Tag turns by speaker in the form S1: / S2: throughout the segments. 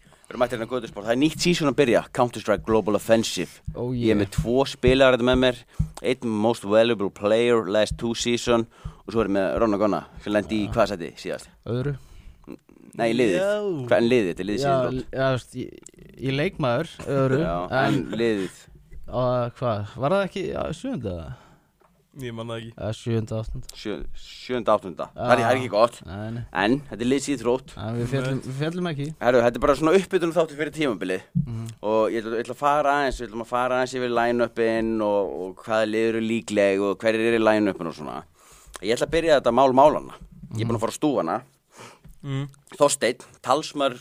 S1: Við erum mættir hérna Götusport. Það er nýtt sísun að byrja, Counter-Strike Global Offensive.
S2: Ó,
S1: Ég
S2: yeah.
S1: er með tvo spilar þetta með mér, einn Most Valuable Player, Last Two Season og svo er ég með Ronna Gonna sem lendi í hvað sæti síðast?
S2: öðru
S1: Nei, í liðið.
S3: Já.
S1: Hvað en liðið? Þetta er liðið
S2: Já,
S1: síðan.
S2: l- já, þú veist, ég, ég leik maður öðru,
S1: Já, en
S2: en,
S1: liðið.
S2: uh, hvað, var það ekki já, sjönda eða?
S3: Ég manna ekki
S2: Eða sjönda, áttunda?
S1: sjö- Sjönda, áttunda. Það er- það er ekki gott.
S2: Nei, nei,
S1: En þetta er liðið síðþrótt.
S2: en við fjallum, við fjallum ekki
S1: Herru, þetta er bara svona uppbytunum þáttu fyrir tímabilið og ég ætla, ég ætla að fara aðeins, við ætlum að fara aðeins yfir line-upin og, og hvaða lið eru líkleg og hverjir eru í line-upin og svona. Ég ætla að byrja þetta mál málana. Ég er búinn að fara á stúfana.
S3: mm.
S1: Þorsteinn, talsmar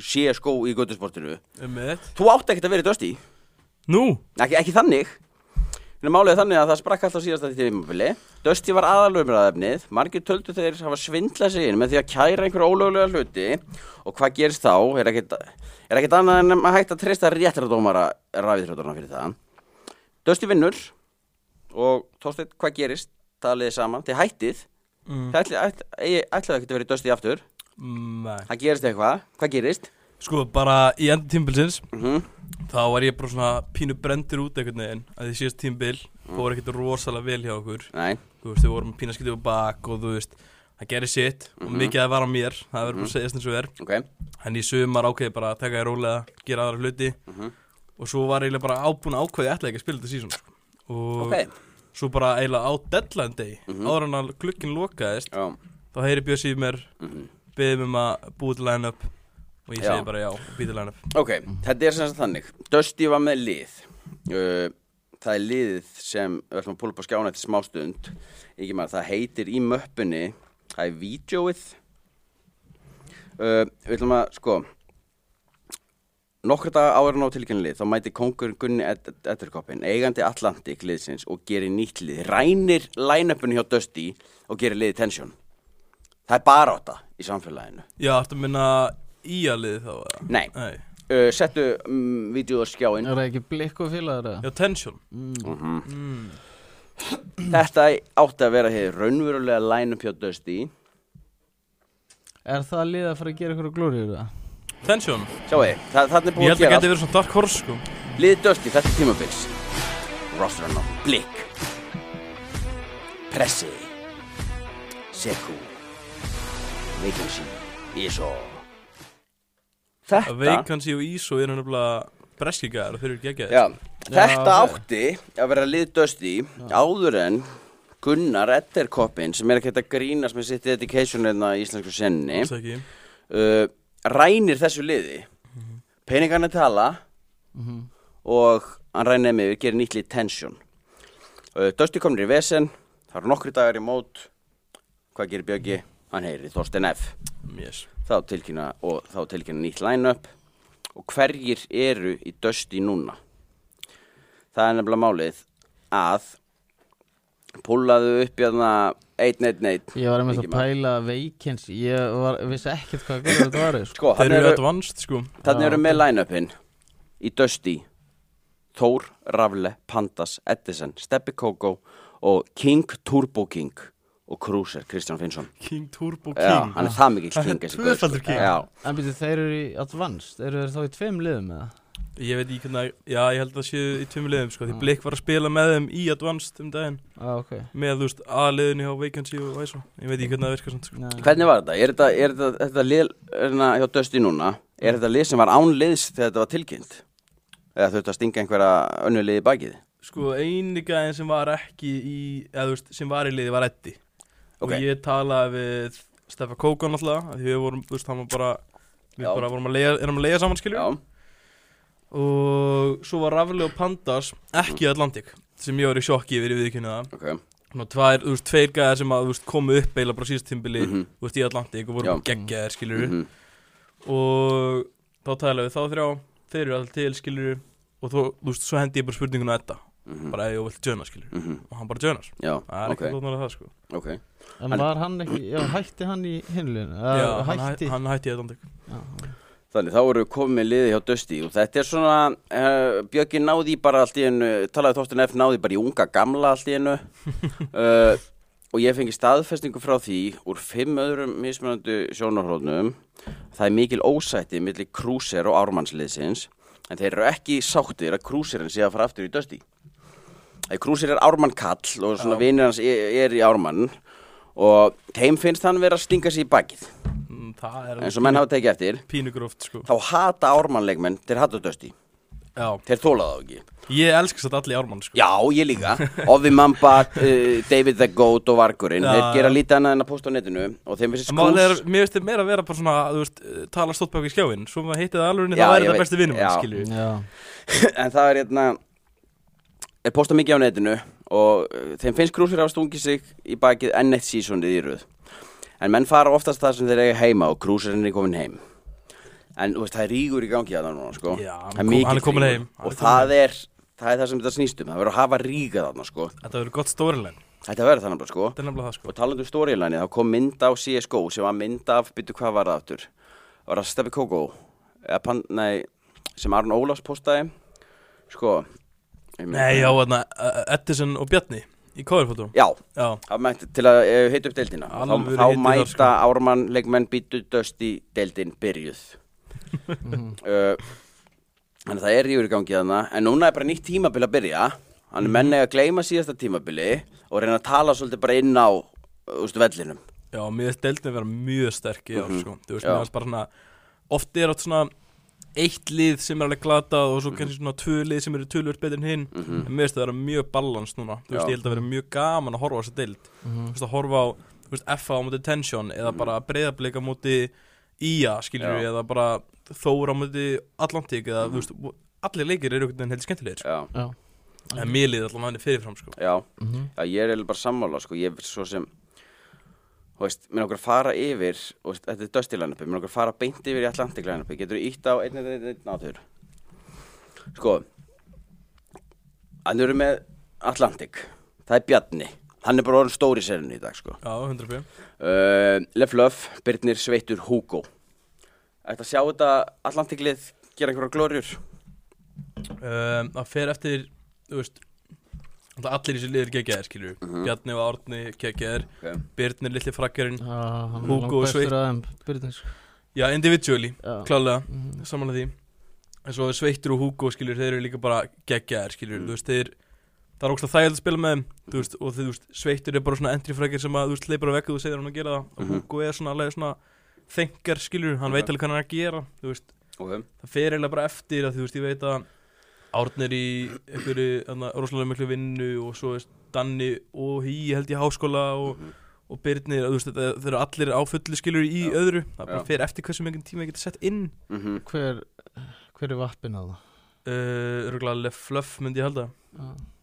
S1: CSGO í göttusportinu.
S3: Emmett
S1: Þú átti ekkert að vera í dösti.
S3: Nú
S1: Ekki, ekki þannig. Þannig málið er þannig að það sprakk alltaf síðast að þetta tímabili. Dösti var aðalumræðafnið, margir töldu þeir hafa svindlað sig inn með því að kæra einhverja ólögulega hluti og hvað gerist þá er ekkert, er ekkert annað en að hægt að treysta réttradómara rafiðrjóðarna fyrir það. Dösti vinnur og Þorsteinn, hvað gerist? Talið þið saman, þið hættið.
S3: mm.
S1: Þið ætli- ætli- ætli- ætlaðu ekkert að vera í dösti aftur.
S3: Nei
S1: Það gerist eitthvað. Hvað gerist?
S3: Sko bara í enda tímbilsins
S1: Mm
S3: Þá var ég bara svona pínu brendur út einhvern veginn að því síðast tímbil fór ekkert rosalega vel hjá okkur
S1: Nei,
S3: Þú veist, við vorum pínu skítið á bak og þú veist Það gerir sitt og mikið að vara mér Það verður bara að segja þess að er
S1: ok.
S3: En í sumar ákveði bara að taka í rólega Gera aðra hluti Og svo var eiginlega bara ábúin að ákveði ætla ekki að spila þetta sísón Og
S1: Ok.
S3: svo bara eiginlega á deadline day Áður en að klukkin lokaðist
S1: Já.
S3: Þá heyri Bjössi í mér Beðum um að búið til line-up Og ég
S1: Já.
S3: segi bara já, býti line-up
S1: Ok, þetta er sem sagt þannig Dusty var með lið uh, Það er liðið sem við ætlum að púla upp á skjána eftir smástund ekki maður, það heitir í möppunni það er vídjóið uh, Við ætlum að sko Nokkra daga áður en á tilkynlið þá mæti kongur Gunni Etterkoppin eigandi Atlantik liðsins og gerir nýtt lið rænir line-upinu hjá Dusty og gerir liðið tension Það er bara átta í samfélaginu
S3: Já, ertu að minna í að liði þá eða?
S1: Nei,
S3: Nei
S1: uh, settu um, vídjóið á skjáin
S2: Er það ekki blikk og félagur eða?
S3: Já, tension
S1: Þetta átti að vera hér raunverulega line-up hjá Dusty
S2: Er það að liða að fara að gera ykkur glóriður eða?
S3: Tension
S1: Sjáuði, þa þannig er
S3: Ég
S1: búið að
S3: held að
S1: gera
S3: geti verið svona dark horse sko
S1: allt. Liðið Dusty, þetta er tímabils Rostran á Blik Pressi Seku Vacancy Iso Þetta
S3: Að Vacancy og ISO eru nefnilega breskigæðar og þeir eru geggjaðir
S1: Já, þetta
S3: Já,
S1: átti að vera lið Dusty áður en Gunnar Etterkoppin sem er ekki hægt að grínast með sitt dedication hérna í íslensku senni
S3: Alls ekki
S1: uh, rænir þessu liði peningarna tala og hann rænir mig við gerir nýtt lið tension uh, Dusty komnir í vesen það eru nokkri dagar í mót hvað gerir Björgi? Hann heyrir í Þorsten F
S3: Yes
S1: þá tilkynna, og þá tilkynna nýtt line-up og hverjir eru í Dusty núna það er nefnilega málið að púlaðu upp hérna 1-1-1
S2: Ég var einmitt
S1: Mikið
S2: að pæla veikins Ég var, vissi ekkert hvað glóriður þetta var sko.
S1: sko,
S3: Þeir
S1: þarna
S3: eru advanced sko
S1: Þannig
S2: Já,
S1: eru með line-upin í Dusty, Thor, Rafle, Pandas, Edison, Steppi Kókó og King Turbo King og Cruiser, Kristján Finnsson.
S3: King Turbo King
S1: Já, hann er það mikill
S3: Hann er
S1: King. þessi gaur, sko.
S3: tvöfaldur king.
S1: Já,
S2: En býttu, þeir eru í advanced Eru þeir þá í tveim liðum eða?
S3: Ég veit ekki hvernig að- Já, ég held að það séu í tveimur liðum
S1: Mm.
S3: sko Því Blake var að spila með þeim í advanced um daginn
S2: Já, ok
S3: Með, þú veist, aðliðinni á Vacancy og ISO Ég veit ekki hvernig það virkar svona sko
S2: Nei.
S1: hvernig var þetta? Er þetta, er þetta, þetta lið erna, hjá Dusty núna, er
S3: Mm.
S1: þetta lið sem var án liðs þegar þetta var tilkynnt? Eða þurftu að stinga einhverja önnu liði í bakið?
S3: Sko, eini gæðin sem var ekki í Eða, þú veist, sem var í liði var Eddi
S1: Ok.
S3: Og ég talaði við Steffa Kókan alltaf Því við vorum, þú veist, hann var bara Við
S1: Já.
S3: bara vorum að leiða, erum að leiða saman skilju
S1: Já,
S3: og svo var Rafli og Pandas ekki í Atlantik sem ég var í sjokki yfir í viðkynna það
S1: ok.
S3: Nú, tvær, þú veist, tveir gæðar sem að, þú veist, komu upp eiginlega bara síðast tímbili,
S1: Mhm.
S3: þú veist, í Atlantik og voru
S1: Já.
S3: bara geggjaðir, skilur
S1: Mhm.
S3: og þá talaði við þá þrjá þeir eru alltaf til, skilur og þó, þú veist, svo hendi ég bara spurninguna þetta
S1: Mhm.
S3: bara ef ég vilt jöna, skilur
S1: Mhm.
S3: og hann bara jönar,
S1: Já,
S3: það er
S1: ok,
S3: ekki lótnar að það, sko
S1: ok.
S2: En var hann ekki, já, hætti hann í hinlun
S3: Já, hann, hæ-
S2: hætti
S3: hann hætti í Atlantik
S1: Þannig þá eru við komið með liði hjá Dusty og þetta er svona, uh, Björki náði í bara allt í hennu, talaði Þorsten F náði bara í unga gamla allt í hennu uh, og ég fengi staðfestingu frá því úr fimm öðrum mismunandi sjónarhóðnum það er mikil ósætti millir krúser og ármannsliðsins en þeir eru ekki sáttir að krúserinn sé að fara aftur í dösti að krúser er ármann kall og svona vinnir hans er, er í ármann og þeim finnst hann vera að stinga sér í bakið
S3: Mm, Það er
S1: eins og menn hafa tekið eftir
S3: pínugróft sko
S1: þá hata ármannleikmenn, þeir hata dösti
S3: Já,
S1: þeir þóla þá ekki
S3: ég elskast að allir ármann sko
S1: Já, ég líka Ovi Mamba, uh, David the Goat og Vargurinn
S3: Já,
S1: Þeir
S3: já.
S1: gera lítið annað en að posta á netinu Og þeim finnst
S3: En málið er,
S1: skrús
S3: mér finnst þið meira að vera bara svona, þú veist, eh, tala stótt bak í skjáin Svo maður hitti það
S1: Já,
S3: alveg, það
S1: ég
S3: væri það
S1: veit.
S3: besti vinnum,
S1: Já.
S3: skilju
S2: Já,
S1: En það er hérna Er posta mikið á netinu Og uh, þeim finnst skrús fyrir að hafa stungið sig Í bakið enn eitt sísonið í röð En menn fara oftast það sem þeir eiga heima Og krúsirinn er komin heim En þú veist, það er rígur í gangi að það núna sko.
S3: Já,
S1: Það
S3: hann kom-
S1: mikill
S3: hann er kominn
S1: rígur.
S3: heim. Hann er
S1: Og það er, það er það sem þetta snýst um Það verður að hafa ríga þarna sko.
S3: Þetta verður gott stórilegn,
S1: Þetta verður þannig bara sko.
S3: þetta er nefnilega það sko
S1: Og talandu um storyline, þá kom mynd á CSGO sem var mynd af, byttu hvað var það aftur? Var það Steppi Kókó? Eða pan, nei, sem Aron Ólafs postaði? Sko, ég meina-
S3: Nei, já, þarna, eh, Edison og Bjarni í coverfotum
S1: Já,
S3: Já,
S1: það mætti til að eh, hita upp deildina. Þá,
S3: Alvöru
S1: þá
S3: hiti þar,
S1: mæta
S3: sko.
S1: Ármann leikmenn byttu dösti deildin byrjuð. uh, þannig að það er rífur í gangi þarna, en núna er bara nýtt tímabil að byrja. Þannig mm.
S3: Mhm.
S1: menn eiga að gleyma síðasta tímabili og reyna að tala svolítið bara inn á, þú veist, vellinum.
S3: já, mér finnst deildin vera mjög sterk í ár sko Þú veist,
S1: Mhm. Já.
S3: mér finnst bara svona, oft er átt svona eitt lið sem er alveg glatað
S1: Mhm.
S3: og svo kannski svona tvö lið sem eru tölvöld betur en hinn En mér finnst það vera mjög balans núna, þú veist,
S1: Já.
S3: ég held að vera mjög gaman að horfa á þessa deild Þú veist, að horfa á, þú veist, FA á móti Tension eða bara breyðablika móti IA,
S1: Mhm.
S3: skilur
S1: Já. Mhm.
S3: eða bara Þóra á móti Atlantik eða, þú veist, allir leikir eru einhvern veginn heldur skemmtilegir sko.
S1: Já.
S2: já,
S3: En mér liði allan að henni fyrirfram, sko
S1: Já, já ég er eiginlega bara sammála sko, ég er svo sem þú veist, mér okkur að fara yfir og veist, þetta er Dusty line-upi, mér okkur að fara beint yfir í Atlantic line-upi, getur þú ítt á einn, einn, einn, einn áður sko hann eru með Atlantic það er Bjarni, hann er bara orðin stór í serinu í dag sko
S3: Já, 100%
S1: uh, Leflöf, Birnir, Sveitur, Hugo Þetta sjá þetta Atlantiklið gera einhverja glóriur
S3: um, Það fer eftir, þú veist náttúrulega Allir í sér liðir geggjaðir, skilur
S1: Mm.
S3: Bjarni og Árni geggjaðir
S1: okay.
S3: Birnir, litli frakkarinn
S2: já hann er
S3: Hugo
S2: langt
S3: og Sveit.
S2: bestur að þeim Byrnir sko.
S3: Já, individually,
S2: Já.
S3: klálega
S2: Mhm.
S3: Samanlega því En svo Sveitur og Hugo, skilur, þeir eru líka bara geggjaðir, skilur Þú veist, þeir Það er ógstlega þægild að spila með þeim Þú veist, og þeir, þú veist, Sveitur er bara svona entry frakkar sem að, þú veist, leipur að vekka þú segir hann að gera það Og Hugo er svona alveg svona Þengar, skilur, hann veit alveg hvað hann er að gera Þú veist,
S1: Okay.
S3: það fer eiginlega bara eftir að þú veist, ég veit að Árn er í einhverju þarna, rosalega miklu vinnu og svo veist, Danni og Hí held ég háskóla og,
S1: Mhm.
S3: og Birnir, þú veist, þetta, þeir eru allir á fullu skilur í
S1: Já.
S3: öðru, það bara
S1: Já.
S3: fer eftir hversu mikið tíma ég geti sett inn
S1: Mm
S2: Hver, hver er vappin að það?
S3: Eh, uh, örgulega Lefluff myndi ég halda
S2: Já,